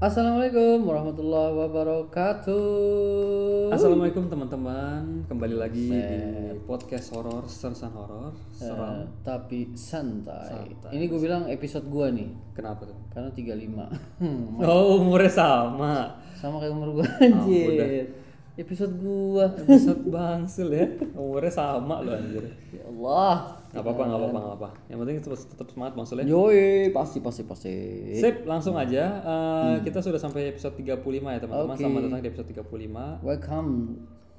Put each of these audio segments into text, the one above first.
Assalamualaikum warahmatullahi wabarakatuh. Assalamualaikum teman-teman, kembali lagi Buset. di podcast horor Sersan Horor. Eh, Seram. tapi santai. Santai. Ini gue bilang episode gua nih Kenapa tuh? karena 35. Hmm, Oh, umurnya sama. Sama kayak umur gua Ah, anjir. Episode gua. Episode bangsil ya. Umurnya sama loh anjir. Ya Allah. Gak apa-apa, gak apa-apa, gak apa. Yang penting tetap, tetap semangat maksudnya. Yoi, pasti pasti pasti. Sip, langsung aja. Eh, Kita sudah sampai episode 35 ya Hmm. Oke. teman-teman. Selamat datang di episode 35. Welcome.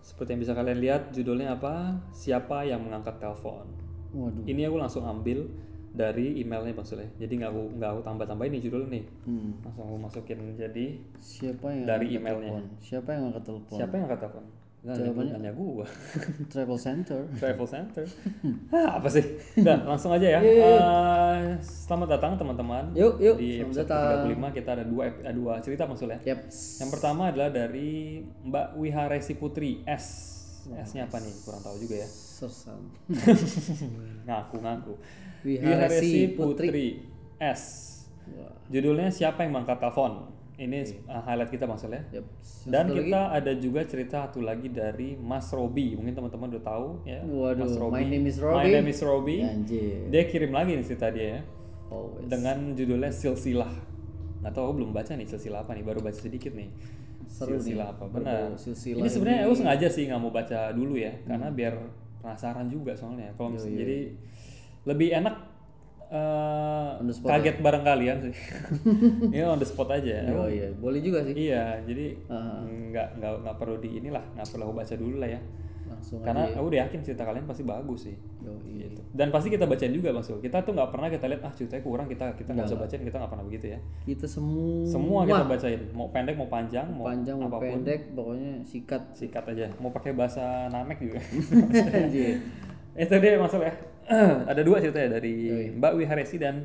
Seperti yang bisa kalian lihat, judulnya apa? Siapa yang mengangkat telepon? Waduh. Ini aku langsung ambil dari emailnya Bang Sule. Jadi nggak aku nggak aku tambah-tambah ini judul nih. Hmm. Langsung aku masukin jadi Siapa yang angkat Dari emailnya. telepon? Siapa yang angkat telepon? siapa yang angkat telepon? Nggak, Jawabannya hanya gua. Travel center. Travel Center. Hah, apa sih? Nah, langsung aja ya. Eh, selamat datang teman-teman. Iya, Yuk, yuk. Di Selamat episode datang. 35 kita ada dua ep- eh, dua cerita Bang Sule. Yep. Yang pertama adalah dari Mbak Wiharesi Putri S. S-nya apa nih? Kurang tahu juga ya. Sersam. Hmm. Ngaku-ngaku. Wiharesi Putri. Putri S. Wah. Judulnya siapa yang mengangkat telepon? Ini uh, highlight kita maksudnya. Yep. Dan kita ada juga cerita satu lagi dari Mas Robi. Mungkin teman-teman udah tahu ya. Waduh, Mas my name is Robi. Ya, My name is Robi. Anjir. Dia kirim lagi nih cerita dia ya. Always. Dengan judulnya Silsilah. Nggak tahu aku belum baca nih silsilah apa nih, baru baca sedikit nih. Seru nih. silsilah apa? Benar. Baru silsilah Hmm. ini sebenarnya aku sengaja sih nggak mau baca dulu ya, karena biar penasaran juga soalnya. Iya, Kalau misalnya jadi lebih enak eh, On the spot ya? kaget bareng kalian sih. ini on the spot aja. Oh iya, boleh juga sih. Iya, jadi nggak nggak nggak perlu di inilah, nggak perlu aku baca dulu lah ya. Langsung Karena aku udah yakin cerita kalian pasti bagus sih. yo iya. Gitu. Dan pasti kita bacain juga Mas Ul. Kita tuh nggak pernah kita lihat ah ceritanya kurang kita kita nggak usah bacain kita nggak pernah begitu ya. Kita semua Semua kita bacain, mau pendek mau panjang, mau panjang mau apapun pendek pokoknya sikat. sikat aja. Mau pakai bahasa Namek juga. Anjir. Itu dia Mas Ul ya. Ada dua cerita ya dari Mbak Wiharesi dan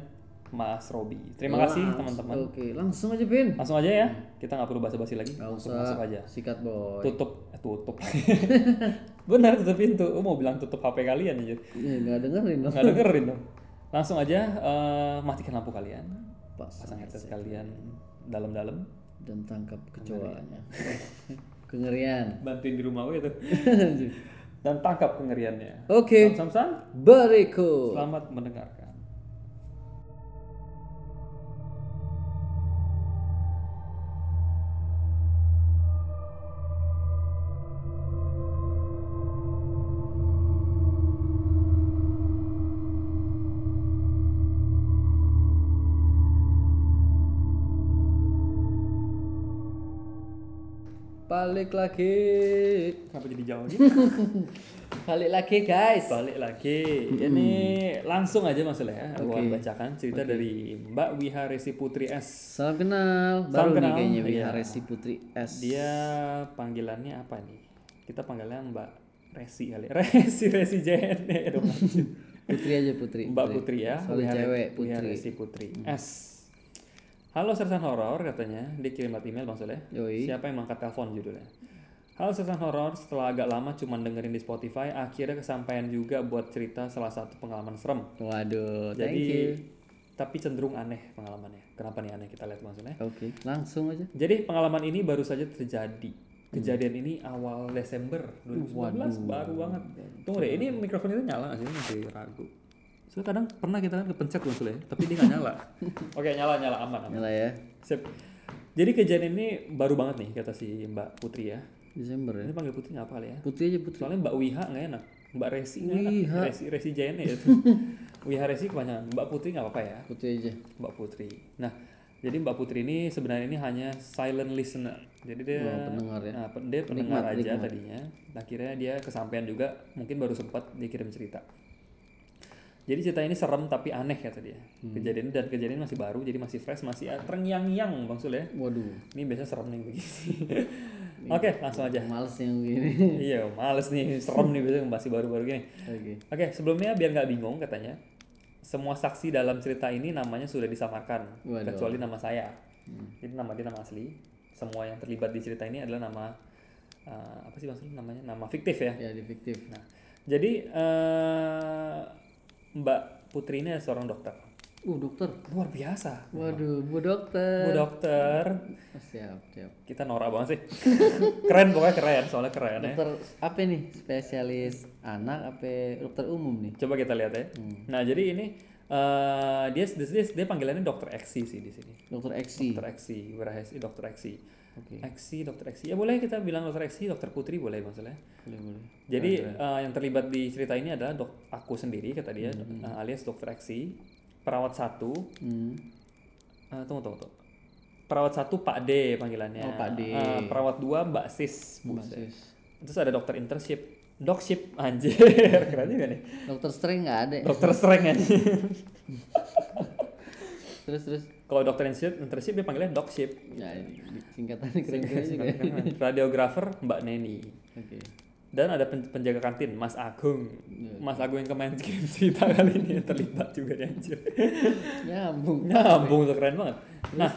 Mas Robi. Terima kasih teman-teman. Oke, langsung aja Pin. Langsung aja ya. Kita nggak perlu basa-basi lagi. Nggak Langsung usah. masuk aja. Sikat boy. tutup eh, tutup benar tutup pintu Gua mau bilang tutup HP kalian aja Iya, enggak dengerin dong. nggak dengerin dong langsung aja eh, matikan lampu kalian Pas pasang headset kalian dalam-dalam dan tangkap kecoanya. ya. Kengerian. bantuin di rumah gue itu Anjir. dan tangkap kengeriannya Oke, sam sam berikut. selamat mendengarkan Balik lagi. kenapa jadi jauh nih Balik lagi, guys. balik lagi ini langsung aja masalah ya aku akan bacakan cerita dari Mbak Wiharesi Putri S Salam kenal. Baru nih Salam kenal, kayaknya iya. Wiharesi Putri S. dia panggilannya apa nih kita panggilannya Mbak Resi kali ya. Resi Resi JNE dong anjir. Putri aja Putri. Mbak Putri ya, Soalnya cewek, Putri. Wiharesi Putri. S. Halo Sersan Horor katanya, dia kirim lewat email Bang Soleh. Yoi. Siapa yang mengangkat telepon judulnya? Halo Sersan Horor, setelah agak lama cuman dengerin di Spotify, akhirnya kesampaian juga buat cerita salah satu pengalaman serem. Waduh, thank Jadi you. tapi cenderung aneh pengalamannya. Kenapa nih aneh kita lihat Bang Soleh. Oke, langsung aja. Jadi pengalaman ini baru saja terjadi. Kejadian ini awal Desember 2019 baru banget. Tunggu deh, ini mikrofon itu nyala nggak sih? Masih ragu. Soalnya kadang pernah kita kan kepencet loh Sule, tapi dia nggak nyala. Oke, nyala nyala aman aman. Nyala ya. Sip. Jadi kejadian ini baru banget nih kata si Mbak Putri ya. Desember ya. Ini panggil Putri nggak apa kali ya? Putri aja Putri. Soalnya Mbak Wiha nggak enak. Mbak Resi nggak Wiha. enak. Resi Resi Jayane ya. itu. Wiha Resi kebanyakan. Mbak Putri nggak apa-apa ya. Putri aja. Mbak Putri. Nah, jadi Mbak Putri ini sebenarnya ini hanya silent listener. Jadi dia pendengar ya. Nah, pen- dia pendengar aja tadinya. Nah, Akhirnya dia kesampaian juga, mungkin baru sempat dikirim cerita. Jadi cerita ini serem tapi aneh kata dia. Hmm. Kejadian dan kejadian masih baru, jadi masih fresh, masih ah, terngiang-ngiang Bang Sul ya. Waduh, Ini biasanya serem nih begini. Oke, langsung aja. males yang gini. iya, males nih, serem nih biasanya masih baru-baru gini. Oke. Oke, sebelumnya biar nggak bingung katanya, semua saksi dalam cerita ini namanya sudah disamarkan, Waduh. kecuali nama saya. Jadi nama dia nama asli. Semua yang terlibat di cerita ini adalah nama eh, apa sih maksudnya namanya? Nama fiktif ya. Ya, di fiktif. Nah, jadi eh, Mbak Putri ini adalah seorang dokter. Uh, dokter. luar biasa Waduh, Bu dokter. bu dokter Oh, siap, siap. kita norak banget sih keren pokoknya keren soalnya keren ya Dokter apa nih? Spesialis anak apa dokter umum nih? coba kita lihat ya nah jadi ini eh dia, dia dia panggilannya dokter Eksi sih di sini Dokter Eksi. dokter Eksi Wirahesi dokter Eksi Oke, Eksi dokter Eksi ya boleh kita bilang dokter Eksi dokter Putri boleh maksudnya boleh boleh. Jadi eh, yang terlibat di cerita ini adalah dok aku sendiri kata dia eh, alias dokter Eksi, perawat satu, Hmm. eh, tunggu tunggu tunggu. Perawat satu Pak D panggilannya. Oh, Pak D. Eh, perawat dua Mbak Sis. Bu. Sis. Terus ada dokter internship, dokship anjir, keren juga nih. Dokter Streng nggak ada. ya? Dokter sereng anjir. Terus terus. Kalau dokter internship, internship dia panggilnya dokship. Ya, ini singkatannya keren keren juga. ya. Oke. Radiografer Mbak Neni. Dan ada pen- penjaga kantin Mas Agung. Mas Agung yang kemarin kirim cerita kali ini terlibat juga dia anjir. Nyambung. Nyambung tuh keren banget. Nah,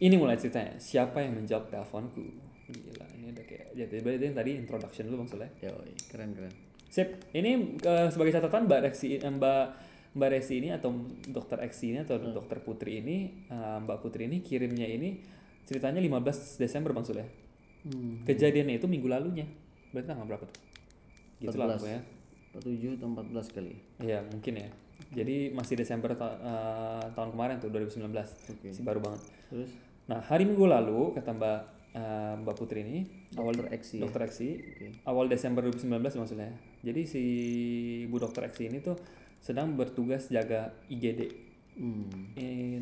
ini mulai ceritanya. Siapa yang menjawab teleponku? Gila, ini ada kayak ya tiba-tiba itu yang tadi introduction dulu Bang Soleh. Yoi, keren keren. Sip, ini eh, sebagai catatan Mbak Reksi eh, Mbak Mbak Resi ini atau Dokter Eksi ini atau Dokter Putri ini eh, Mbak Putri ini kirimnya ini ceritanya 15 Desember Bang Soleh. Hmm. Kejadiannya itu minggu lalunya. Berarti tanggal berapa tuh? Gitu lah 14. pokoknya. 7 atau 14 kali. Iya, mungkin ya. Jadi masih Desember ta- eh, tahun kemarin tuh 2019. Oke. Masih baru banget. Terus Nah, hari Minggu lalu kata Mbak eh, Mbak Putri ini awal Dokter Eksi Iya. ya? Dokter Eksi, Oke. awal Desember 2019 maksudnya. Jadi si Bu Dokter Eksi ini tuh sedang bertugas jaga IGD hmm. in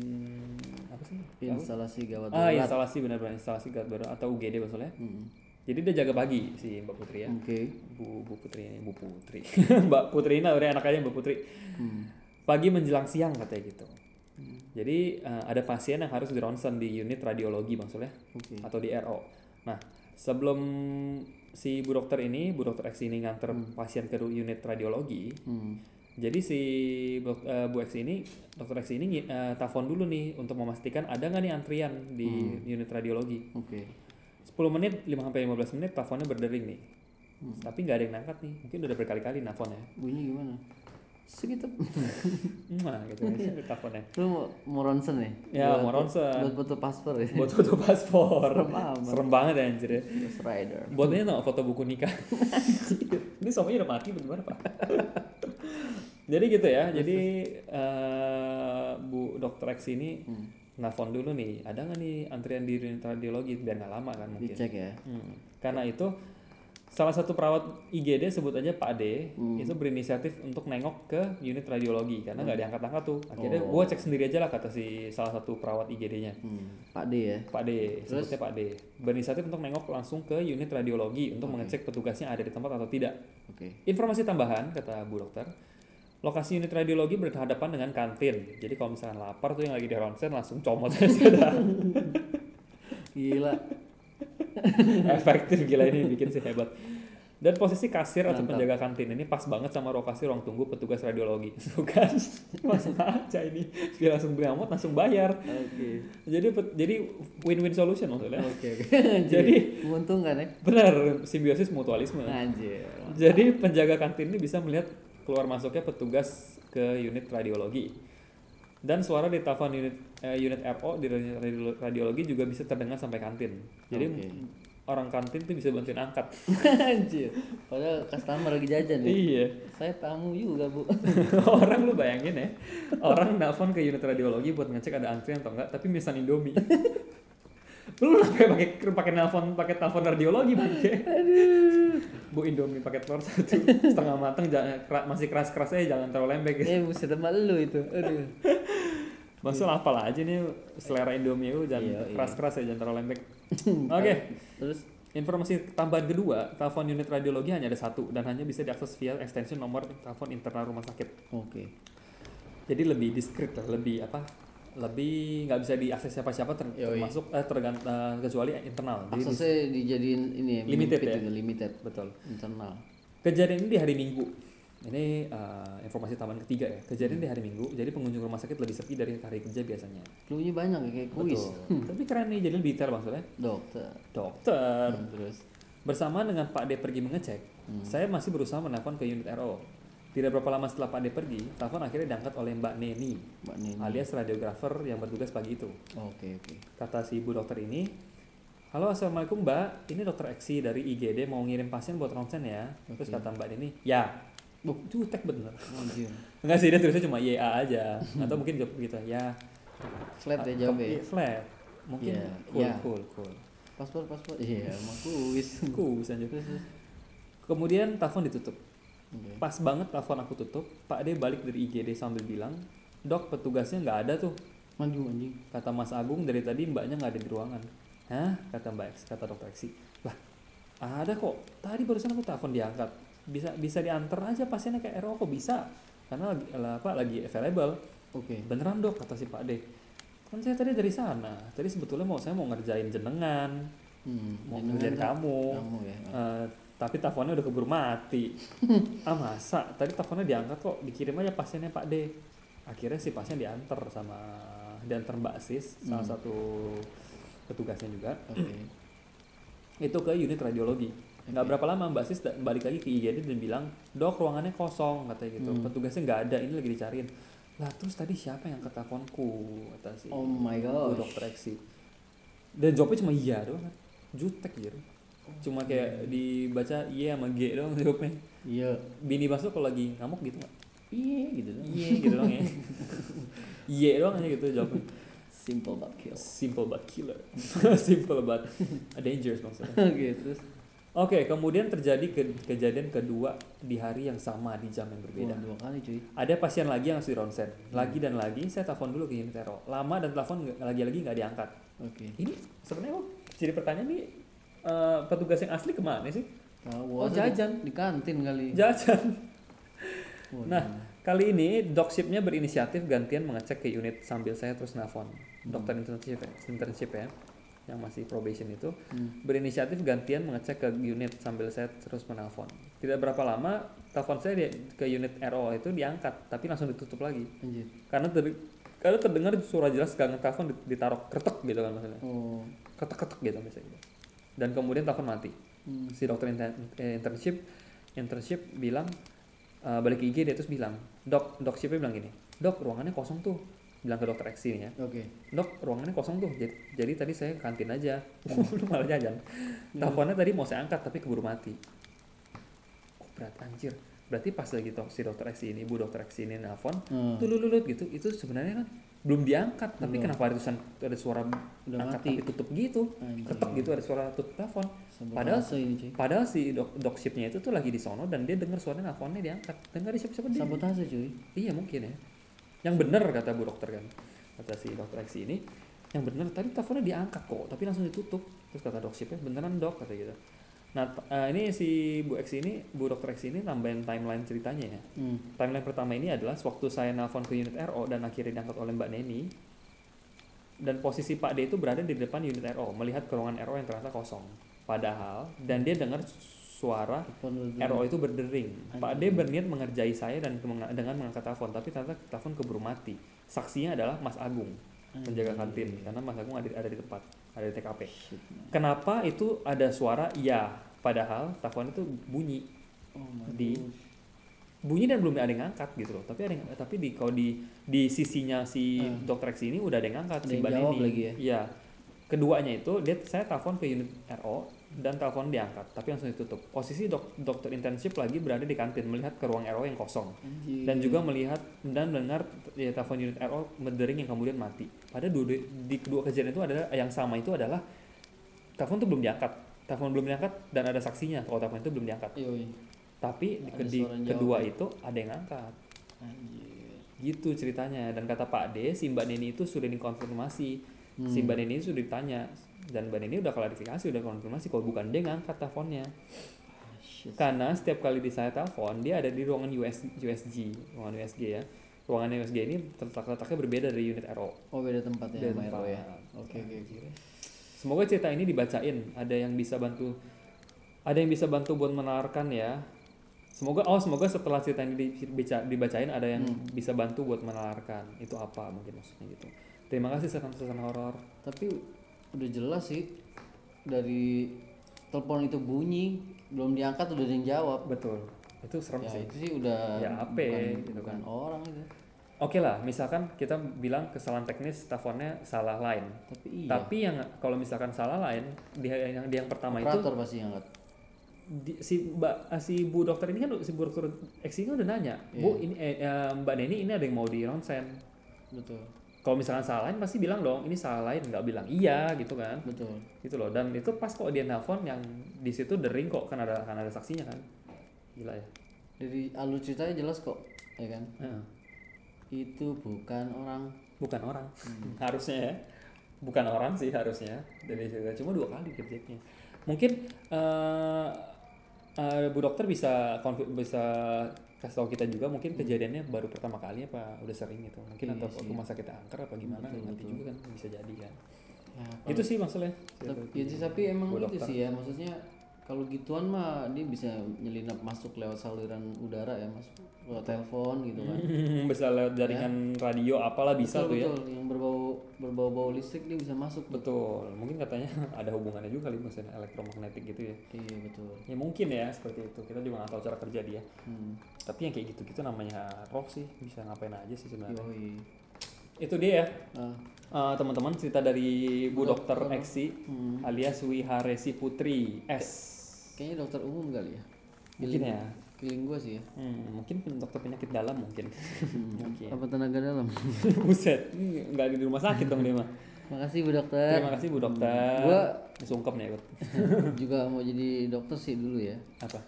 apa sih? Iya. instalasi gawat Ah, darurat. instalasi benar-benar instalasi gawat darurat atau UGD maksudnya. Hmm. Jadi dia jaga pagi si Mbak Putri Hmm. ya. Oke. Bu, Bu Putri ini, Bu Putri. Mbak Putri ini udah enak aja Mbak Putri. Hmm. Pagi menjelang siang katanya gitu. Jadi eh, ada pasien yang harus di ronsen di unit radiologi maksudnya Oke. atau di RO. Nah, sebelum si bu dokter ini, bu dokter X ini nganter pasien ke unit radiologi. Hmm. Jadi si bu, eh, Bu X ini, dokter X ini ngi- eh, telepon dulu nih untuk memastikan ada nggak nih antrian di unit radiologi. Oke. 10 menit, 5 sampai 15 menit teleponnya berdering nih. Tapi nggak ada yang ngangkat nih. Mungkin udah berkali-kali nelfonnya. Bunyi gimana? Segitu. Nah, gitu aja teleponnya. Lu mau, mau ronsen ya? Ya, mau ronsen. Buat foto paspor ya. Buat foto paspor. Serem amat. Serem banget ya anjir ya. Ghost Rider. Buatnya tau foto buku nikah. Ini suaminya udah mati bagaimana Pak? jadi gitu ya. Jadi eh, Bu Dokter X ini Hmm. nelfon dulu nih. Ada nggak nih antrian di unit radiologi biar nggak lama kan mungkin. Dicek ya. Hmm. Karena itu salah satu perawat IGD sebut aja Pak D Hmm. itu berinisiatif untuk nengok ke unit radiologi karena nggak diangkat-angkat tuh. Akhirnya Oh. gua cek sendiri aja lah kata si salah satu perawat IGD-nya. Hmm. Pak D ya. Pak D, sebutnya Pak D. Berinisiatif untuk nengok langsung ke unit radiologi untuk mengecek petugasnya ada di tempat atau tidak. Oke. Informasi tambahan kata Bu Dokter. Lokasi unit radiologi berhadapan dengan kantin. Jadi kalau misalkan lapar tuh yang lagi di ronsen langsung comot aja dah. Gila. efektif gila ini bikin sih hebat dan posisi kasir atau penjaga kantin ini pas banget sama lokasi ruang tunggu petugas radiologi bukan langsung aja ini dia langsung beli amot langsung bayar Oke. jadi pet- jadi win-win solution maksudnya Oke. oke. Jadi- menguntungkan ya. benar simbiosis mutualisme Nah, Anjir. jadi penjaga kantin ini bisa melihat keluar masuknya petugas ke unit radiologi dan suara di telepon unit eh, unit RO di radio- radio- radiologi juga bisa terdengar sampai kantin jadi Oke. orang kantin tuh bisa bantuin angkat Anjir. Padahal customer lagi jajan ya. iya Saya tamu juga, Bu. orang lu bayangin ya orang nelfon ke unit radiologi buat ngecek ada antrian atau enggak tapi misan indomie lu pakai pakai pakai nelfon pakai telepon radiologi bangke bu indomie pakai telur satu setengah mateng jangan kera- masih keras keras aja jangan terlalu lembek gitu. eh, buset sama lu itu. Aduh. maksud apalah aja nih selera indomie lu Iya, jangan iya. keras keras ya jangan terlalu lembek oke Terus Informasi tambahan kedua, telepon unit radiologi hanya ada satu dan hanya bisa diakses via extension nomor telepon internal rumah sakit. oke. jadi lebih diskrit lah lebih apa lebih nggak bisa diakses siapa-siapa ter- Yoi. termasuk eh, tergan- eh, kecuali internal Jadi dis- Aksesnya dijadiin ini ya, menyempit Limited ya? gitu, limited betul internal. kejadian ini di hari minggu ini eh, informasi tambahan ketiga ya kejadian di hari minggu jadi pengunjung rumah sakit lebih sepi dari hari kerja biasanya Cluenya banyak ya, kayak kuis. Betul. tapi keren nih jadi lebih detail maksudnya Dokter. dokter Terus Hmm. bersamaan dengan Pak D pergi mengecek saya masih berusaha menelpon ke unit RO Tidak berapa lama setelah Pak D pergi, telepon akhirnya diangkat oleh Mbak Neni, Mbak Neni. alias radiografer yang bertugas pagi itu. Oke, oke. Kata si ibu dokter ini, Halo Assalamualaikum Mbak, ini dokter Eksi dari IGD mau ngirim pasien buat ronsen ya. Terus kata Mbak Neni, ya. Buh, jutek bener. Anjir. Enggak sih, dia tulisnya cuma YA aja. Atau mungkin jawab gitu, ya. Flat ya jawabnya. Iya, Flat. Mungkin Iya, cool, iya. cool, cool. Paspor, paspor. Iya, emang kuis. Kus anjir. Kemudian telepon ditutup. Oke. Pas banget telepon aku tutup, Pak D balik dari IGD sambil bilang, Dok, petugasnya nggak ada tuh. Maju anjing. Kata Mas Agung dari tadi mbaknya nggak ada di ruangan. Hah? Kata Mbak X, kata dokter Eksi. Lah, ada kok. Tadi barusan aku telepon diangkat. Bisa bisa diantar aja pasiennya ke RO kok bisa? Karena lagi lah, apa lagi available. Oke. Beneran dok kata si Pak D. Kan saya tadi dari sana. Tadi sebetulnya mau saya mau ngerjain jenengan, Hmm, mau jangan ngerjain kan kamu. Kamu ya. Eh, tapi teleponnya udah keburu mati. ah masa? Tadi teleponnya diangkat kok, dikirim aja pasiennya Pak D. Akhirnya si pasien diantar sama diantar Mbak Sis, salah satu petugasnya juga. Oke. Itu ke unit radiologi. Nggak berapa lama Mbak Sis da- balik lagi ke IGD dan bilang, dok ruangannya kosong katanya gitu. Hmm. Petugasnya nggak ada, ini lagi dicariin. Lah terus tadi siapa yang angkat teleponku? Kata si Oh my Gua god. dokter eksi dan jawabnya cuma iya doang kan. jutek gitu Oh cuma kayak dibaca iya sama G doang jawabnya Iya. bini Baso kalau lagi ngamuk gitu nggak Iya gitu dong. iya gitu doang ya iya doang aja gitu jawabnya Simple but kill. simple but killer simple but dangerous maksudnya Oke, terus oke kemudian terjadi ke- kejadian kedua di hari yang sama di jam yang berbeda Wah, dua kali cuy. ada pasien lagi yang harus di ronsen lagi dan lagi saya telepon dulu ke unit RO lama dan telepon nggak- lagi-lagi nggak diangkat Oke. ini sebenarnya kok jadi pertanyaan nih eh, petugas yang asli kemana sih Tahu Oh, aja di- jajan. di kantin kali. jajan Waduh. nah kali ini dokshipnya berinisiatif gantian mengecek ke unit sambil saya terus nelfon dokter internship ya, internship ya yang masih probation itu Hmm. berinisiatif gantian mengecek ke unit sambil saya terus menelpon tidak berapa lama telepon saya di- ke unit RO itu diangkat tapi langsung ditutup lagi Anjir. karena ter- karena terdengar suara jelas gak telepon ditaruh kretek gitu kan maksudnya Oh. ketek-ketek gitu misalnya dan kemudian telepon mati Hmm. si dokter inter- eh, internship internship bilang eh, balik ke IG dia terus bilang dok dok siapa bilang gini dok ruangannya kosong tuh bilang ke dokter X ini ya Oke. dok ruangannya kosong tuh jadi, jadi tadi saya ke kantin aja Lu malah jajan Hmm. teleponnya tadi mau saya angkat tapi keburu mati oh, berat anjir berarti pas lagi dok, si dokter X ini ibu dokter X ini nelfon Hmm. tululut gitu itu sebenarnya kan belum diangkat tapi Belum. kenapa ada tulisan ada suara Hmm. Udah angkat mati. Hmm. tapi tutup gitu Anjir. ketok gitu ada suara tutup telepon Sebab Padahal- rasa ini cuy. padahal si dok dok shipnya itu tuh lagi di sono dan dia dengar suara teleponnya diangkat dan nggak ada siapa-siapa di Sabotase cuy. iya mungkin ya yang bener kata bu dokter kan kata si dokter Eksi ini yang bener tadi teleponnya diangkat kok tapi langsung ditutup terus kata dok shipnya beneran dok kata gitu nah t- eh, ini si bu Eksi ini bu dokter Eksi ini tambahin timeline ceritanya ya Hmm. Timeline pertama ini adalah waktu saya nelpon ke unit RO dan akhirnya diangkat oleh Mbak Neni. Dan posisi Pak D itu berada di depan unit RO, melihat ke ruangan RO yang ternyata kosong. Padahal, dan dia dengar suara Telepon dulu dulu. RO itu berdering. Pak D berniat mengerjai saya dan menga- dengan mengangkat telepon, tapi ternyata telepon keburu mati. Saksinya adalah Mas Agung, Hmm. penjaga kantin, karena Mas Agung ada, ada di tempat, ada di TKP. Shit, man. Kenapa itu ada suara iya, padahal telepon itu bunyi Oh my Di- God. bunyi dan belum ada yang ngangkat gitu loh tapi ada yang, tapi di kalau di di sisinya si Hmm. dokter X ini udah ada yang ngangkat Ada si yang Mbak jawab Neni. lagi ya? Iya. keduanya itu dia saya telepon ke unit RO dan telepon diangkat tapi langsung ditutup posisi dok, dokter internship lagi berada di kantin melihat ke ruang RO yang kosong Anjir. dan juga melihat dan mendengar ya, telepon unit RO mendering yang kemudian mati. Pada dua, di kedua kejadian itu adalah yang sama itu adalah telepon itu belum diangkat, telepon belum diangkat dan ada saksinya kalau telepon itu belum diangkat. Yoi. Tapi di, Ada di suara yang kedua jawab. itu ada yang angkat. Anjir. Gitu ceritanya. Dan kata Pak D, si Mbak Neni itu sudah dikonfirmasi. Si Hmm. Mbak Neni itu sudah ditanya. Dan Mbak Neni udah klarifikasi, udah konfirmasi kalau bukan dia yang angkat teleponnya. Ah, Shit. Karena setiap kali di saya telepon, dia ada di ruangan US, USG, ruangan USG ya. Ruangan USG ini terletak-letaknya berbeda dari unit RO. Oh beda tempat ya Beda sama Ero tempat. ya. Oke oke oke. Semoga cerita ini dibacain. Ada yang bisa bantu, ada yang bisa bantu buat menawarkan ya. Semoga oh semoga setelah cerita ini di- dibaca- dibacain ada yang Hmm. bisa bantu buat menawarkan itu apa mungkin maksudnya gitu. Terima kasih setan-setan horor. Tapi udah jelas sih dari telepon itu bunyi belum diangkat udah ada yang jawab. Betul. itu serem ya sih itu sih udah Ya, apa bukan, gitu bukan orang itu oke lah misalkan kita bilang kesalahan teknis teleponnya salah lain tapi iya tapi yang kalau misalkan salah lain dia yang dia yang pertama itu operator pasti yang angkat di- si mbak ah, si bu dokter ini kan si bu dokter Eksi kan udah nanya Iya. bu ini eh, eh, mbak Neni ini ada yang mau di ronsen betul kalau misalkan salah lain pasti bilang dong ini salah lain nggak bilang iya gitu kan betul gitu loh dan itu pas kok dia nelfon yang di situ dering kok kan ada kan ada saksinya kan gila ya dari alur ah, ceritanya jelas kok ya kan Heeh. itu bukan orang bukan orang harusnya ya bukan orang sih harusnya dari cerita cuma dua kali kerjanya mungkin eh, eh, bu dokter bisa konfi- bisa kasih tahu kita juga mungkin kejadiannya baru pertama kali apa udah sering gitu mungkin atau rumah sakit angker apa gimana nanti juga kan bisa jadi kan ya, itu sih maksudnya tapi, ya sih, tapi emang Gua itu dokter. sih ya maksudnya kalau gituan mah dia bisa nyelinap masuk lewat saluran udara ya masuk lewat telepon gitu kan bisa lewat jaringan radio apalah Hmm. bisa tuh ya betul yang berbau berbau bau listrik dia bisa masuk tuh. Betul, mungkin katanya ada hubungannya juga kali mesin elektromagnetik gitu ya. iya betul Ya mungkin ya seperti itu. Kita juga nggak tahu cara kerja dia. hmm. Tapi yang kayak gitu-gitu namanya rock sih bisa ngapain aja sih sebenarnya. Yoi. Itu dia ya Ah, eh, teman-teman cerita dari Bu Dokter Eksi Hmm. alias Wiharesi Putri S. kayaknya dokter umum kali ya Mungkin ya. feeling gua sih ya Hmm, mungkin pen- dokter penyakit dalam mungkin. Hmm. mungkin. apa tenaga dalam Buset, nggak ada di rumah sakit dong dia mah. makasih bu dokter Terima kasih Bu Dokter. Eh, Gua- sungkem nih ikut. juga mau jadi dokter sih dulu ya Apa?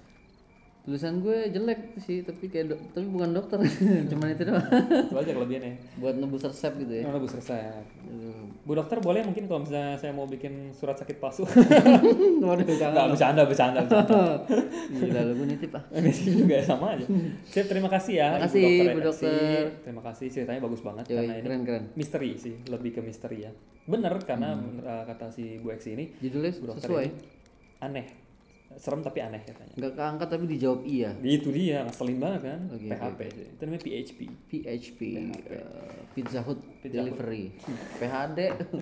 tulisan gue jelek sih tapi kayak dok- tapi bukan dokter cuman itu doang Itu aja kelebihannya. buat nebus resep gitu ya Yang rebus resep. Aduh. Bu dokter boleh mungkin kalau misalnya saya mau bikin surat sakit palsu. Waduh, jangan. Enggak bercanda bercanda. bercanda. Gila lu gue nitip ah. Ini juga ya, sama aja. Sip, terima kasih ya. Makasih, Bu Bu dokter. dokter. Eksi. Terima kasih ceritanya bagus banget Yoi, karena ini keren keren. misteri sih, lebih ke misteri ya. Bener karena bener, uh, kata si Bu Eksi ini Judulnya Bu dokter Hmm. sesuai. ini aneh. Serem tapi aneh katanya. Enggak keangkat tapi dijawab iya. Itu dia, ngeselin banget kan. Oke, PHP. Itu namanya PHP. PHP eh, Pizza Hut delivery. PHD.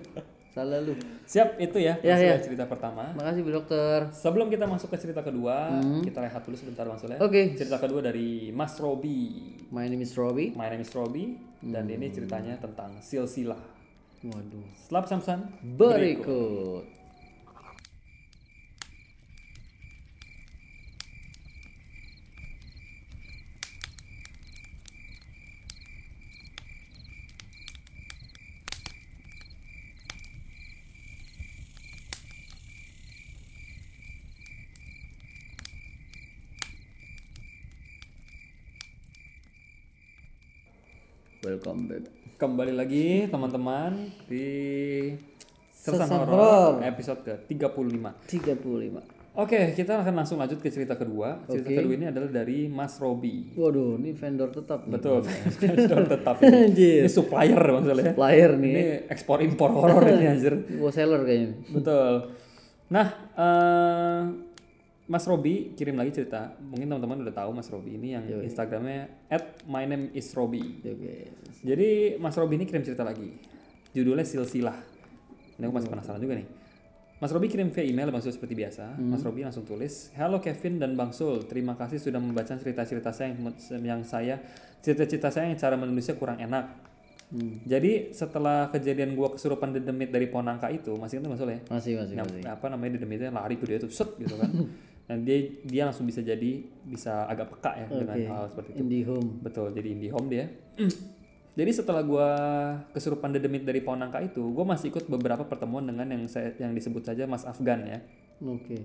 Salah lu. Siap, itu ya. Ya, ya. Maksudnya cerita pertama. Makasih Bu Dokter. Sebelum kita masuk ke cerita kedua, kita rehat dulu sebentar Bang Soleh. Hmm. Oke. Cerita kedua dari Mas Robi. My name is Robbie. My name is Robi dan Hmm. ini ceritanya tentang silsilah. Waduh. Selamat samsan. Berikut. Welcome back. Kembali lagi teman-teman di Sersan Sersan Horor episode ke-35. 35. Oke, kita akan langsung lanjut ke cerita kedua. Cerita kedua ini adalah dari Mas Robi. Waduh, ini vendor tetap nih. Betul. vendor tetap ini. ini supplier Bang Soleh. Hmm. Supplier nih. Ini ekspor impor horor ini anjir. Wholesaler kayaknya. nih. Betul. Nah, eh, Mas Robi kirim lagi cerita. Mungkin teman-teman udah tahu Mas Robi ini yang Instagramnya @mynameisrobi. Oke. Jadi Mas Robi ini kirim cerita lagi. Judulnya silsilah. Ini aku masih penasaran juga nih. Mas Robi kirim via email Bang Sul seperti biasa. Mas Robi langsung tulis, "Halo Kevin dan Bang Sul, terima kasih sudah membaca cerita-cerita saya yang, yang saya cerita-cerita saya yang cara menulisnya kurang enak. Jadi setelah kejadian gua kesurupan dedemit dari Ponangka itu, masih ingat Bang Sul ya? Masih masih Nah, masih. apa namanya dedemitnya lari ke dia tuh set gitu kan dan dia dia langsung bisa jadi bisa agak peka ya dengan hal seperti itu Indihome. betul jadi indie home dia jadi setelah gua kesurupan dedemit dari pohon nangka itu gua masih ikut beberapa pertemuan dengan yang saya yang disebut saja Mas Afgan ya Oke.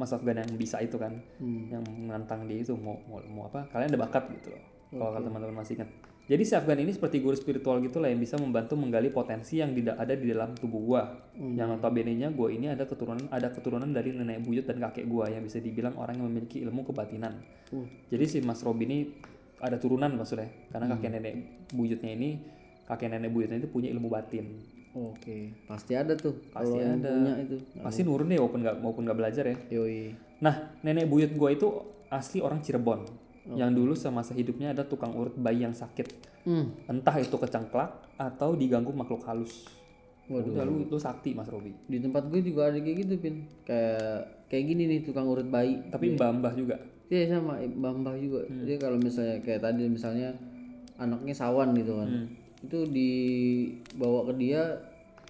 Mas Afgan yang bisa itu kan yang menantang dia itu mau, mau mau apa kalian ada bakat gitu loh kalau kata teman-teman masih ingat jadi si Afgan ini seperti guru spiritual gitu lah yang bisa membantu menggali potensi yang tidak ada di dalam tubuh gua yang notabene-nya gua ini ada keturunan ada keturunan dari nenek buyut dan kakek gua yang bisa dibilang orang yang memiliki ilmu kebatinan jadi si Mas Robi ini ada turunan maksudnya karena kakek nenek buyutnya ini kakek nenek buyutnya itu punya ilmu batin Oke. Pasti ada tuh. Pasti Pasti ada. ada. punya itu. pasti nurun deh walaupun nggak maupun nggak belajar ya Yoi. Nah, nenek buyut gue itu asli orang Cirebon. Yang dulu semasa hidupnya ada tukang urut bayi yang sakit. Hmm. Entah itu kecengklak atau diganggu makhluk halus. Waduh. Udah lu, lu sakti Mas Robi. Di tempat gue juga ada kayak gitu, Pin. Kayak kayak gini nih tukang urut bayi. Tapi mbah-mbah juga. Iya sama Bamba juga. Hmm. Dia kalau misalnya kayak tadi misalnya anaknya sawan gitu kan. Hmm. Itu dibawa ke dia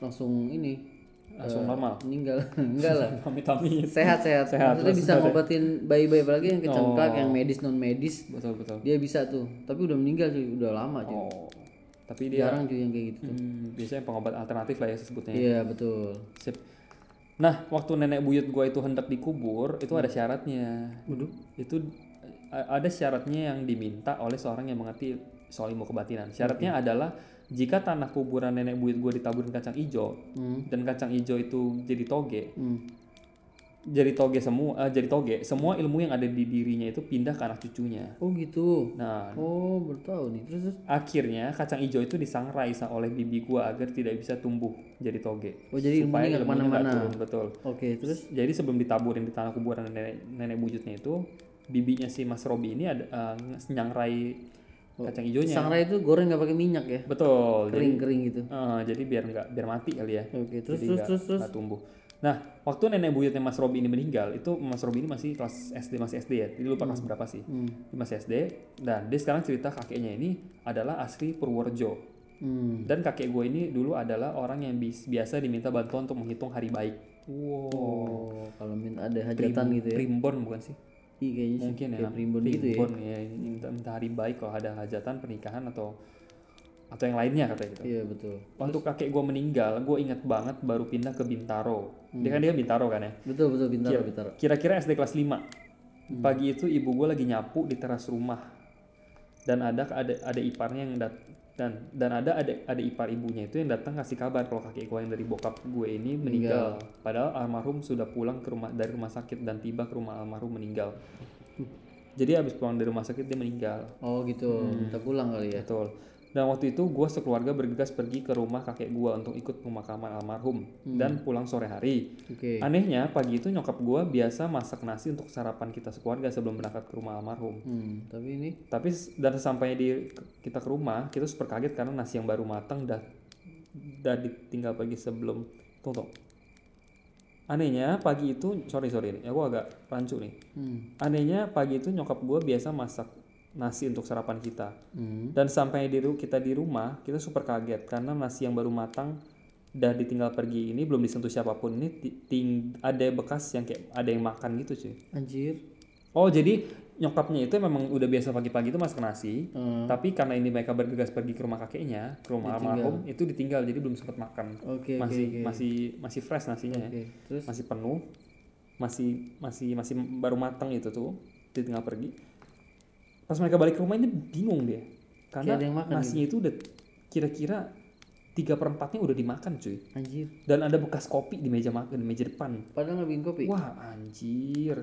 langsung ini langsung normal meninggal. Enggak lah. pamit pamit Sehat sehat. Ah. Sehat, Oh. Maksudnya bisa ngobatin bayi-bayi apalagi yang kecengklak, yang medis non medis. betul betul Dia bisa tuh. Tapi udah meninggal cuy, udah lama cuy. oh tapi dia Jarang cuy yang kayak gitu. hmm, biasanya pengobat alternatif lah ya sebutnya Iya, betul. Sip. Nah, waktu nenek buyut gua itu hendak dikubur, itu ada syaratnya. Itu a- ada syaratnya yang diminta oleh seorang yang mengerti soal ilmu kebatinan. Syaratnya adalah jika tanah kuburan nenek buyut gua ditaburin kacang ijo dan kacang ijo itu jadi toge, Hmm. jadi toge semua, eh, jadi toge, semua ilmu yang ada di dirinya itu pindah ke anak cucunya. Oh gitu. Nah, Oh, bertahu nih. Terus terus akhirnya kacang ijo itu disangrai sa- oleh bibi gua agar tidak bisa tumbuh jadi toge. Oh, jadi ilmunya nggak ilmunya nggak kemana-mana. turun, betul. Oke, terus Terus jadi sebelum ditaburin di tanah kuburan nenek nenek buyutnya itu bibinya si Mas Robi ini ada eh, nyangrai kacang hijaunya. sangrai itu goreng nggak pakai minyak Oh, ya? Betul. Jadi Kering-kering gitu. eh, jadi biar nggak biar mati kali ya. Oke, terus jadi terus nggak- terus terus. nggak tumbuh. Nah, waktu nenek buyutnya Mas Robi ini meninggal, itu Mas Robi ini masih kelas SD masih SD ya. Jadi lupa kelas berapa sih? Hmm. Masih SD. Dan dia sekarang cerita kakeknya ini adalah asli Purworejo. Hmm. Dan kakek gue ini dulu adalah orang yang bis- biasa diminta bantuan untuk menghitung hari baik. Wow. Oh, kalau minta ada hajatan gitu ya. Primbon bukan sih? Iya kayaknya sih, mungkin ya kayak primbon gitu ya. primbon, ya, ini minta, minta hari baik kalau ada hajatan pernikahan atau atau yang lainnya katanya gitu Iya, betul. waktu kakek gue meninggal gue ingat banget baru pindah ke Bintaro dia kan dia Bintaro kan ya Betul, betul bintaro, bintaro. kira-kira SD kelas 5 pagi itu ibu gue lagi nyapu di teras rumah dan ada ada ada iparnya yang dat dan dan ada ada ada ipar ibunya itu yang datang kasih kabar kalau kakek gue yang dari bokap gue ini meninggal padahal almarhum sudah pulang ke rumah dari rumah sakit dan tiba ke rumah almarhum meninggal jadi habis pulang dari rumah sakit dia meninggal Oh, gitu. Hmm. Minta pulang kali ya. Betul. Dan waktu itu gue sekeluarga bergegas pergi ke rumah kakek gue untuk ikut pemakaman almarhum dan pulang sore hari. Oke. Anehnya pagi itu nyokap gue biasa masak nasi untuk sarapan kita sekeluarga sebelum berangkat ke rumah almarhum. Hmm, tapi ini Tapi s- dan sesampainya di kita ke rumah kita super kaget karena nasi yang baru matang dah dah ditinggal pagi sebelum tunggu. tunggu. Anehnya pagi itu sorry sorry nih, aku agak rancu nih. hmm. Anehnya pagi itu nyokap gue biasa masak nasi untuk sarapan kita. Hmm. Dan sampai di ru- kita di rumah, kita super kaget karena nasi yang baru matang dan ditinggal pergi ini belum disentuh siapapun ini ti- ting- ada bekas yang kayak ada yang makan gitu cuy. Anjir. Oh jadi nyokapnya itu memang udah biasa pagi-pagi itu masak nasi, Hmm. tapi karena ini mereka bergegas pergi ke rumah kakeknya, ke rumah almarhum itu ditinggal jadi belum sempat makan. Oke, oke, masih oke. masih masih fresh nasinya ya Oke, terus masih penuh masih masih masih baru matang itu tuh di tengah pergi pas mereka balik ke rumah ini bingung dia karena Kayak ada yang makan gitu. nasinya itu udah kira-kira tiga perempatnya udah dimakan cuy anjir. dan ada bekas kopi di meja makan di meja depan Padahal nggak bikin kopi. wah anjir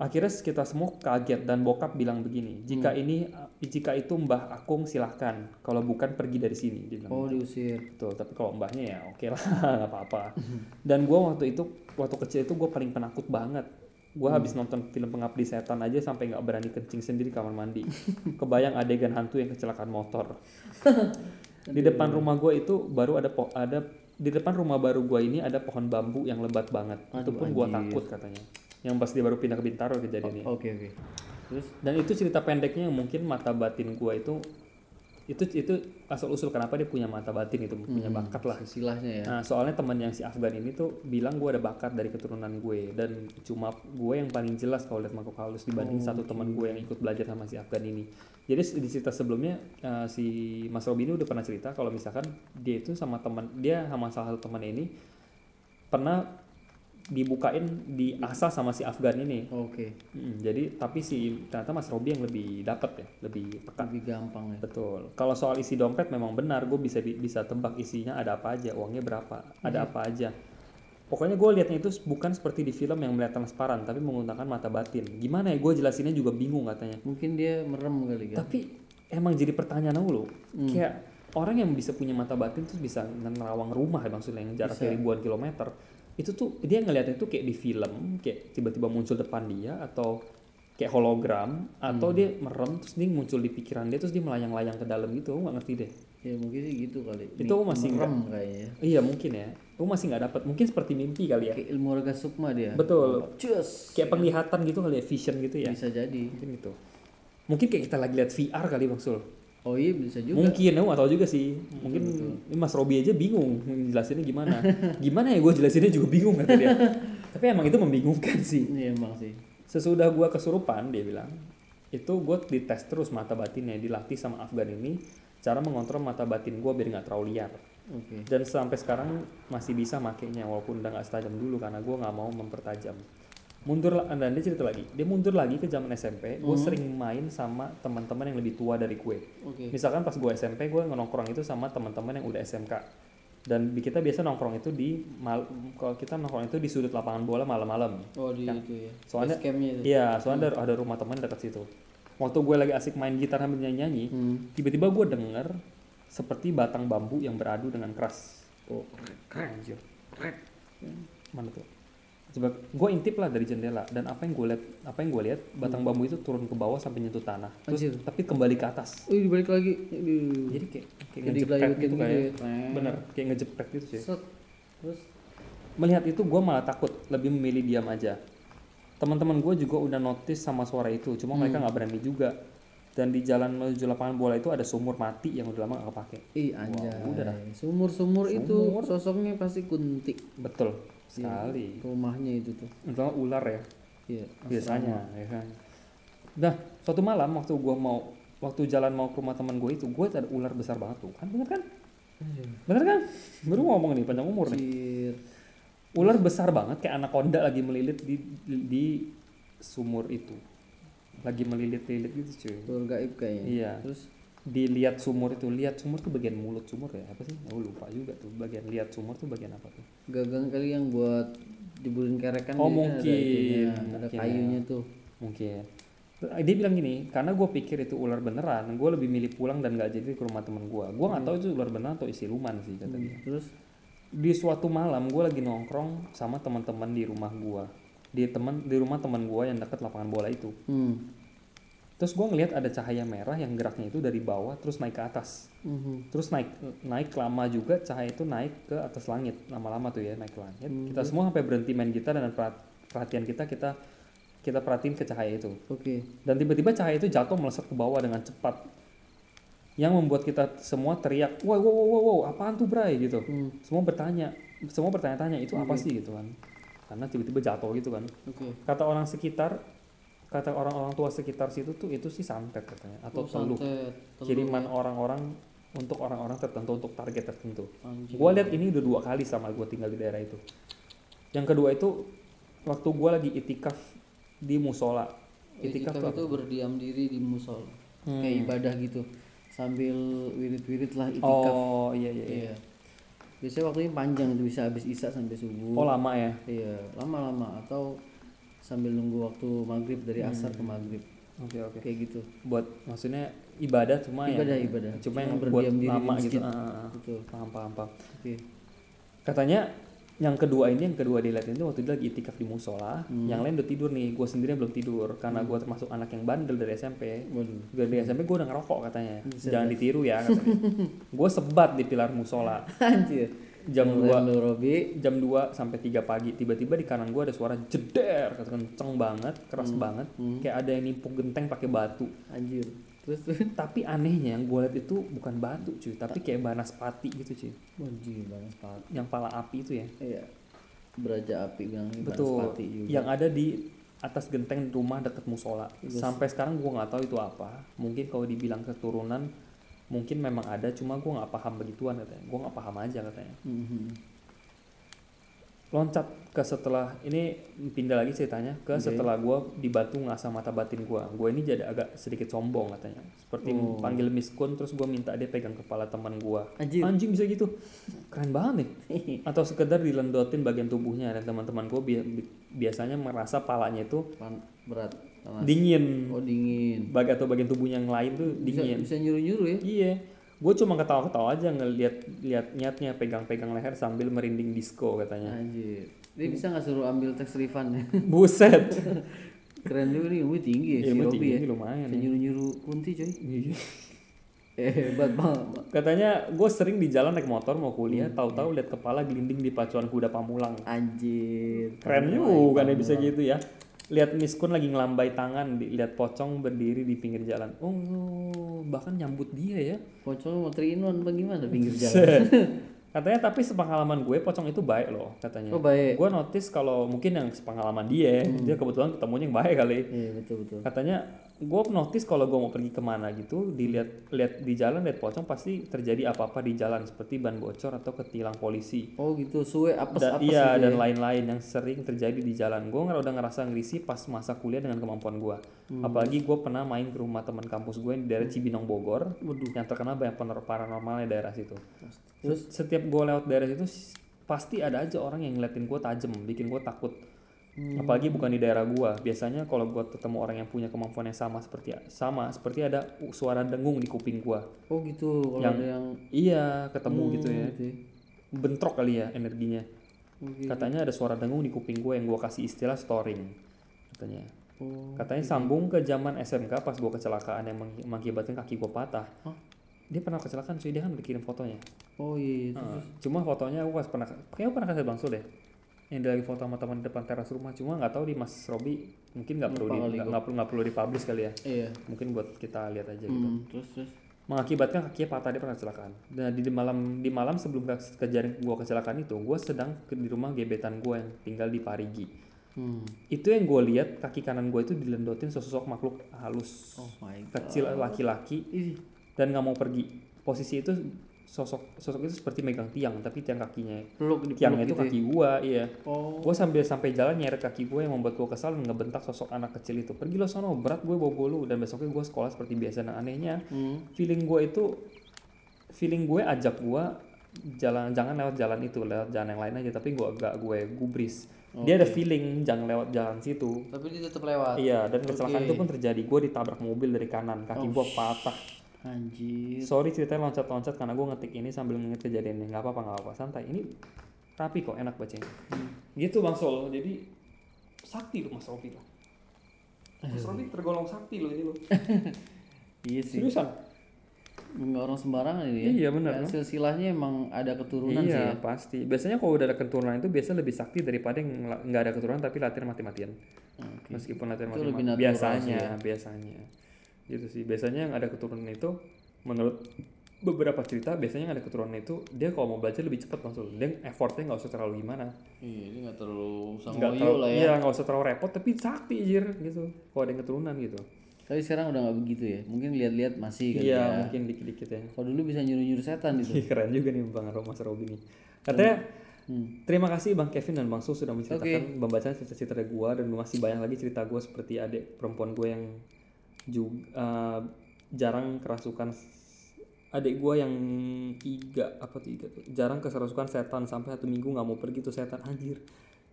akhirnya kita semua kaget dan bokap bilang begini jika Hmm. ini jika itu mbah akung silahkan kalau bukan pergi dari sini dia bilang Oh, diusir. Betul, tapi kalau mbahnya ya oke lah, nggak apa-apa. Dan gue waktu itu, waktu kecil itu gue paling penakut banget. Gue habis Hmm. nonton film Pengabdi Setan aja sampai nggak berani kencing sendiri di kamar mandi. Kebayang adegan hantu yang kecelakaan motor. di depan rumah gue itu baru ada po ada di depan rumah baru gue ini ada pohon bambu yang lebat banget. itu Aduh, pun gue anjir. takut katanya. Yang pas dia baru pindah ke Bintaro kejadiannya. Oke, oke. Terus Dan itu cerita pendeknya yang mungkin mata batin gue itu itu itu asal usul kenapa dia punya mata batin itu punya bakat lah silahnya Hmm. ya. Nah, soalnya temen yang si Afgan ini tuh bilang gue ada bakat dari keturunan gue dan cuma gue yang paling jelas kalau lihat makhluk halus dibanding satu teman gue yang ikut belajar sama si Afgan ini. Jadi di cerita sebelumnya eh, si Mas Robi ini udah pernah cerita kalau misalkan dia itu sama teman dia sama salah satu teman ini pernah dibukain diasah sama si Afgan ini. Oke, Mm, jadi tapi si ternyata Mas Robi yang lebih dapat ya, lebih peka. lebih gampang ya. Betul. Kalau soal isi dompet memang benar, gue bisa di- bisa tebak isinya ada apa aja, uangnya berapa, ada apa aja. Pokoknya gue liatnya itu bukan seperti di film yang melihat transparan, tapi menggunakan mata batin. Gimana ya gue jelasinnya juga bingung katanya. Mungkin dia merem kali kan. Tapi emang jadi pertanyaan aku loh. Kayak orang yang bisa punya mata batin terus bisa nerawang rumah ya maksudnya yang jaraknya ribuan kilometer. Itu tuh dia ngeliatnya itu kayak di film, kayak tiba-tiba muncul depan dia atau kayak Hmm. hologram atau dia merem terus dia muncul di pikiran dia terus dia melayang-layang ke dalam gitu. Aku nggak ngerti deh. ya mungkin sih gitu kali Itu aku masih merem kayaknya Iya mungkin ya. Gue masih nggak dapat. Mungkin seperti mimpi kali ya. kayak ilmu raga sukma dia Iya. Betul. cus Kayak penglihatan gitu kali ya, vision gitu ya. bisa jadi Mungkin gitu. Mungkin kayak kita lagi lihat VR kali Bang Sul. oh iya bisa juga Mungkin, aku nggak tahu juga sih. Mungkin ini Mas Robi aja bingung jelasinnya gimana. gimana ya gue jelasinnya juga bingung kata dia. Tapi emang itu membingungkan sih. iya emang sih Sesudah gua kesurupan dia bilang, itu gua dites terus mata batinnya, dilatih sama Afgan ini cara mengontrol mata batin gua biar nggak terlalu liar. oke Dan sampai sekarang masih bisa makainya walaupun udah nggak setajam dulu karena gua nggak mau mempertajam. Mundur la- dan dia cerita lagi, dia mundur lagi ke zaman SMP. Gue sering main sama teman-teman yang lebih tua dari gue. oke Misalkan pas gue SMP gue nongkrong itu sama teman-teman yang udah SMK dan bi- kita biasa nongkrong itu di mal- kalau kita nongkrong itu di sudut lapangan bola malam-malam. oh di itu ya Soalnya- Base campnya itu Iya, soalnya ada, ada rumah teman dekat situ. Waktu gue lagi asik main gitar sambil nyanyi, hmm. tiba-tiba gue denger seperti batang bambu yang beradu dengan keras. oh Anjir. Mana tuh? Coba gue intip lah dari jendela dan apa yang gue lihat, apa yang gue lihat batang bambu itu turun ke bawah sampai nyentuh tanah. Terus Anjir. tapi kembali ke atas. Wih, dibalik lagi Aduh. Jadi kayak kayak jadi ngejepret kelayutin gitu gitu kayak. ya Nah. Bener, kayak ngejepret gitu sih. set terus Melihat itu gue malah takut, lebih memilih diam aja. Teman-teman gue juga udah notice sama suara itu, cuma mereka nggak berani juga. Dan di jalan menuju lapangan bola itu ada sumur mati yang udah lama nggak kepake. ih anjay sumur-sumur itu sosoknya pasti kunti Betul sekali. rumahnya itu tuh Terutama Iya. ular ya, iya biasanya. Ya kan? Nah, suatu malam waktu gue mau waktu jalan mau ke rumah teman gue itu, gue ada ular besar banget tuh kan, bener kan? Bener kan? Baru ngomong nih panjang umur nih. Anjir. ular besar banget kayak anaconda lagi melilit di di sumur itu lagi melilit-lilit gitu cuy Telur gaib kayaknya. iya Terus dilihat sumur itu lihat sumur tuh bagian mulut sumur ya apa sih aku lupa juga tuh bagian lihat sumur tuh bagian apa tuh gagang kali yang buat diburin kerekan dia kan Oh, mungkin, ada, itunya, ada mungkin ya. kayunya tuh. mungkin dia bilang gini karena gue pikir itu ular beneran gue lebih milih pulang dan gak jadi ke rumah temen gue gue nggak tahu itu ular beneran atau siluman sih kata dia Hmm, Terus di suatu malam gue lagi nongkrong sama teman-teman di rumah gue di teman di rumah teman gue yang deket lapangan bola itu hmm. Terus gue ngelihat ada cahaya merah yang geraknya itu dari bawah terus naik ke atas. mhm. Terus naik naik lama juga cahaya itu naik ke atas langit. Lama-lama tuh ya naik ke langit. Kita semua sampai berhenti main gitar dan perhat- perhatian kita kita kita perhatiin ke cahaya itu. Oke. Dan tiba-tiba cahaya itu jatuh melesat ke bawah dengan cepat. Yang membuat kita semua teriak, "Wow, wow, wow, wow, wow, apaan tuh, Bray?" gitu. Hmm. Semua bertanya, semua bertanya-tanya, "Itu apa sih?" gitu kan. Karena tiba-tiba jatuh gitu kan Oke. kata orang sekitar kata orang-orang tua sekitar situ tuh itu sih santet katanya Oh, atau teluk santet, ya. telur. kiriman orang-orang untuk orang-orang tertentu untuk target tertentu Anjing. gue lihat ini udah dua kali sama gue tinggal di daerah itu yang kedua itu waktu gue lagi itikaf di musola Itikaf itikaf, tuh apa? itu berdiam diri di musol. Iya, Kayak Hmm. ibadah gitu. Sambil wirid-wirid lah itikaf. oh iya iya, iya. Iya. Biasanya waktunya panjang tuh bisa habis isya sampai subuh. oh lama ya Iya, lama-lama atau sambil nunggu waktu maghrib dari asar ke maghrib oke Hmm. oke kayak gitu buat maksudnya ibadah cuma yang- Ibadah, ibadah. cuma yang Cuma buat berdiam diri di lama gitu masjid. Ah, ah, ah. betul paham paham paham oke katanya yang kedua ini yang kedua dilihatin itu waktu dia lagi itikaf di musola yang lain udah tidur nih gue sendiri belum tidur karena gue termasuk anak yang bandel dari SMP waduh dari SMP gue udah ngerokok katanya jangan ditiru ya katanya gue sebat di pilar musola anjir jam Mulai 2 lu Robi jam 2 sampai 3 pagi tiba-tiba di kanan gue ada suara jeder kata kenceng banget keras banget kayak ada yang nimpuk genteng pakai batu Hmm, anjir terus terus tapi anehnya yang gue lihat itu bukan batu cuy tapi kayak banaspati gitu cuy anjir banget Pak. yang pala api itu ya iya beraja api bilang ini Betul. Iya. Banaspati juga. Yang ada di atas genteng rumah dekat musola. Sampai sekarang gua nggak tahu itu apa. Mungkin kalau dibilang keturunan, mungkin memang ada. Cuma gua nggak paham begituan katanya. Gua nggak paham aja katanya. Mhm. Loncat ke setelah ini pindah lagi ceritanya ke setelah gua dibantu ngasah mata batin gua. Gua ini jadi agak sedikit sombong katanya. Seperti panggil miskun terus gua minta dia pegang kepala teman gua. Anjir. Anjing bisa gitu. Keren banget nih atau sekedar dilendotin bagian tubuhnya dan teman-teman gue biasanya merasa palanya itu Pan- berat panas. dingin oh dingin bag atau bagian tubuh yang lain tuh bisa, dingin bisa nyuruh nyuruh ya iya gue cuma ketawa-ketawa aja ngeliat liat niatnya pegang-pegang leher sambil merinding disco katanya anjir dia bisa nggak suruh ambil tax refund ya buset keren juga nih ilmu tinggi ya si ilmu Robi Iya, tinggi ya ini lumayan bisa nyuruh nyuruh kunti coy Iya. hebat banget Katanya gue sering di jalan naik motor mau Hmm, kuliah, iya. tahu-tahu lihat kepala gelinding di pacuan kuda pamulang. anjir Keren juga nih bisa gitu ya. Lihat miskun lagi ngelambai tangan, di- lihat pocong berdiri di pinggir jalan. Oh, bahkan nyambut dia ya. pocong mau triinuan apa gimana pinggir jalan Set. Katanya tapi sepengalaman gue pocong itu baik loh katanya. Oh, baik. Gue notice kalau mungkin yang sepengalaman dia, Hmm. dia kebetulan ketemunya yang baik kali. iya betul betul Katanya gue notice kalau gue mau pergi kemana gitu, dilihat lihat di jalan lihat pocong pasti terjadi apa-apa di jalan seperti ban bocor atau ketilang polisi. oh gitu suwe apes Dan, apes iya gitu ya. dan lain-lain yang sering terjadi di jalan. Gue udah ngerasa ngerisi pas masa kuliah dengan kemampuan gue. Hmm. Apalagi gue pernah main ke rumah teman kampus gue di daerah Cibinong Bogor, yang terkenal banyak penor paranormalnya daerah situ. Terus setiap gue lewat daerah situ s- pasti ada aja orang yang ngeliatin gue tajam, bikin gue takut. Hmm. Apalagi bukan di daerah gue. Biasanya kalau gue ketemu orang yang punya kemampuan yang sama seperti sama seperti ada u- suara dengung di kuping gue. oh gitu kalau Yang- ada yang Iya ketemu gitu gitu ya, ya. Oh, gitu. bentrok kali ya energinya. Oke. Katanya ada suara dengung di kuping gue yang gue kasih istilah storing. Katanya. Oh. Katanya sambung ke zaman SMK pas gue kecelakaan yang meng- mengakibatkan kaki gue patah. Hah? Dia pernah kecelakaan, cuy. Dia kan udah kirim fotonya. oh iya Heeh. cuma fotonya aku pas pernah, kayaknya pernah kasih bangsul deh. Yang dia lagi foto sama teman di depan teras rumah. Cuma nggak tahu di Mas Robi mungkin nggak perlu di, Lupa kali nggak nggak perlu nggak perlu dipublish kali ya. iya Mungkin buat kita lihat aja. gitu. Hmm, terus terus Mengakibatkan kakinya patah dia pernah kecelakaan. Nah di, di malam di malam sebelum ke- kejadian gue kecelakaan itu, gue sedang ke- di rumah gebetan gue yang tinggal di Parigi. hmm. itu yang gue lihat kaki kanan gue itu dilendotin sosok makhluk halus oh my god kecil laki-laki Ih, dan nggak mau pergi posisi itu sosok sosok itu seperti megang tiang tapi tiang kakinya peluk di tiangnya itu gitu ya. kaki gue iya oh gue sambil sampai jalan nyeret kaki gue yang membuat gue kesal dan ngebentak sosok anak kecil itu pergi lo sono berat gue bawa lu dan besoknya gue sekolah seperti biasa dan anehnya hmm. feeling gue itu feeling gue ajak gue jalan jangan lewat jalan itu lewat jalan yang lain aja tapi gue agak gue gubris dia ada feeling jangan lewat jalan situ tapi dia tetap lewat Iya, dan kecelakaan Oke. itu pun terjadi. Gue ditabrak mobil dari kanan, kaki gua patah. anjir Sorry ceritanya loncat-loncat karena gue ngetik ini sambil nginget kejadiannya. Nggak apa-apa, nggak apa-apa. Santai. Ini rapi kok, enak bacanya. Gitu Bang Sol. Jadi sakti loh Mas Robi loh. Mas Robi tergolong sakti loh ini loh. iya sih Seriusan? nggak orang sembarangan ini ya Iya benar. Dan loh. silsilahnya emang ada keturunan sih Iya ya. pasti. Biasanya kalau udah ada keturunan itu biasanya lebih sakti daripada yang la- nggak ada keturunan tapi latihan mati-matian. Oke. meskipun latihan Itu lebih matematika natural biasanya sih biasanya gitu sih biasanya yang ada keturunan itu menurut beberapa cerita biasanya yang ada keturunan itu dia kalau mau belajar lebih cepat langsung dia effortnya nggak usah terlalu gimana Iya, ini nggak terlalu usah nggak ngoyo terlalu lah ya. iya nggak usah terlalu repot tapi sakti jir gitu kalau ada yang keturunan gitu Tapi sekarang udah nggak begitu ya. Mungkin lihat-lihat masih kali iya ya. mungkin dikit-dikit ya Kalau dulu bisa nyuruh-nyuruh setan gitu. Ih, keren juga nih bang Ro- Mas Robi nih katanya terima kasih bang Kevin dan bang Sul sudah menceritakan pembacaan cerita-cerita dari gua dan masih banyak lagi cerita gua seperti adik perempuan gue yang juga jarang kerasukan s- adik gua yang tiga apa tiga tuh jarang keserasukan setan sampai satu minggu nggak mau pergi tuh setan anjir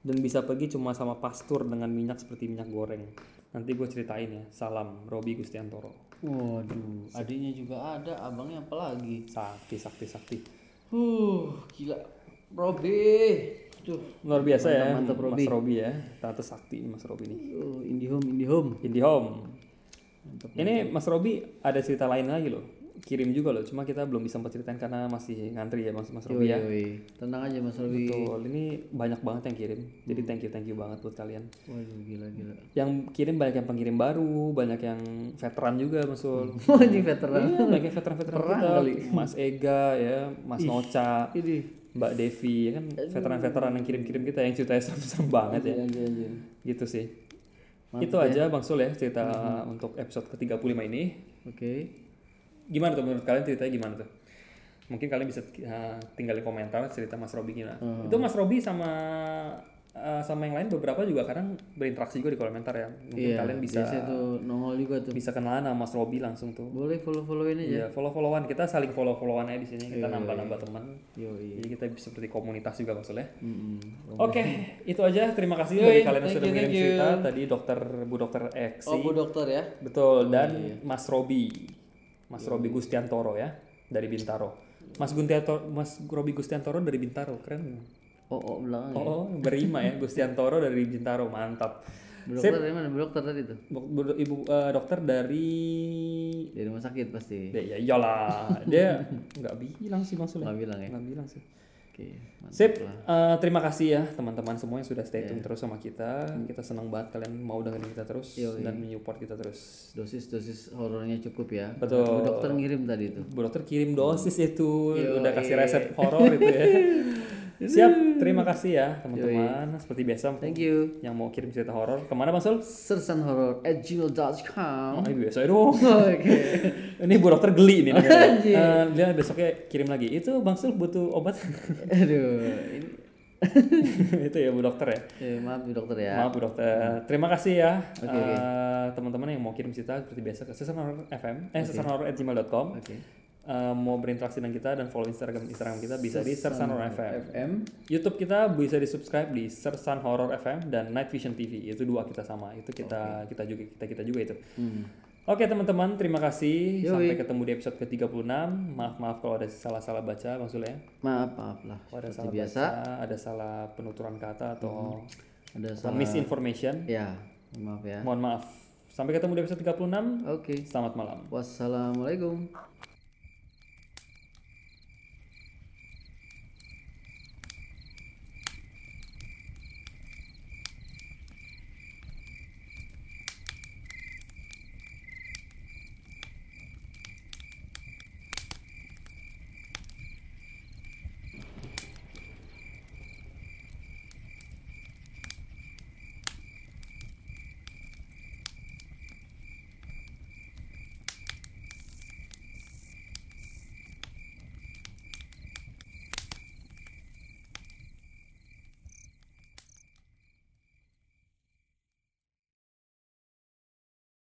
dan bisa pergi cuma sama pastur dengan minyak seperti minyak goreng nanti gue ceritain ya salam Robi Gustiantoro Waduh, adiknya juga ada, abangnya apa lagi? sakti sakti sakti Huh, gila. Robi. Tuh. luar biasa ya Mantap, mantap, Mas Robi ya tante sakti ini Mas Robi nih Oh, Indihome, Indihome. Indie Home ini Mas Robi ada cerita lain lagi loh kirim juga loh cuma kita belum bisa sempat ceritain karena masih ngantri ya Mas Mas Robi ya Yoi. Tenang aja Mas Robi. betul ini banyak banget yang kirim jadi Hmm. thank you thank you banget buat kalian Waduh, gila gila. yang kirim banyak yang pengirim baru banyak yang veteran juga Mas Ul Anjing veteran. Iya, banyak yang veteran-veteran kita Mas Ega ya Mas Noca Ini. Mbak Devi ya kan veteran-veteran yang kirim-kirim kita yang ceritanya serem-serem banget ya Anjir, anjir. gitu sih itu aja Bang Sul ya cerita untuk episode ke-35 ini Oke. gimana tuh menurut kalian ceritanya gimana tuh mungkin kalian bisa eh, tinggalin komentar cerita Mas Robi gimana Mm. itu Mas Robi sama eh, sama yang lain beberapa juga kadang berinteraksi juga di komentar ya mungkin Iya, kalian bisa biasanya tuh nongol juga tuh. bisa kenalan sama Mas Robi langsung tuh Boleh ya? follow-followin aja. Iya, follow-followan kita saling follow-followan aja di sini Iya. kita nambah-nambah teman Yoi. jadi kita bisa seperti komunitas juga maksudnya Mm-mm. Oke, itu aja. Terima kasih bagi kalian yang Iya. thank sudah you, mengirim thank you. cerita tadi dokter Bu Dokter Eksi. Oh, Bu dokter ya. Betul dan iya. Mas Robi. Mas Robi Gustiantoro ya dari Bintaro. Mas Guntiantoro, Mas Robi Gustiantoro dari Iya. Bintaro, keren. Oh, oh belakang. Oh, berima ya Gustiantoro dari Bintaro, mantap. Bu dokter dari mana? Bu dokter tadi tuh. Dok- bu- ibu eh, dokter dari Dari rumah sakit pasti. ya ya iyalah dia nggak bilang sih maksudnya Nggak bilang ya? nggak bilang sih Oke. mantap. Sip, eh, terima kasih ya teman-teman semua yang sudah stay Iya. tune terus sama kita. Kita senang banget kalian mau dengerin kita terus dan menyupport kita terus. Dosis-dosis horornya cukup ya. Betul. Bu dokter ngirim tadi tuh. Bu dokter kirim dosis itu, udah kasih resep horor itu ya. Siap, terima kasih ya teman-teman. Seperti biasa Thank you. yang mau kirim cerita horor kemana Bang Sul? sersanhoror at gmail.com Oh, ini biasa dong. Oke. ini bu dokter geli nih. dengerin. Anjir. Eh, dia besoknya kirim lagi. Itu Bang Sul butuh obat. Aduh. Ini, itu ya bu dokter ya. eh, maaf Bu dokter ya. Maaf Bu Dokter. Terima kasih ya Oke, eh, oke. teman-teman yang mau kirim cerita seperti biasa ke sesanhoror.fm eh sesanhoror@gmail.com. Oke. Eh, mau berinteraksi dengan kita dan follow Instagram Instagram kita bisa di Sersanhoror FM. FM. YouTube kita bisa di subscribe di Sersan Horror FM dan Night Vision TV itu dua kita sama itu kita kita juga kita kita juga itu. Oke teman-teman terima kasih sampai ketemu di episode ke-36. Maaf maaf kalau ada salah-salah baca maksudnya. Maaf, maaf lah. Kalau ada Seperti salah biasa baca, ada salah penuturan kata atau ada atau salah. misinformation. Ya, maaf ya. Mohon maaf. Sampai ketemu di episode 36. Oke. Selamat malam. Wassalamualaikum.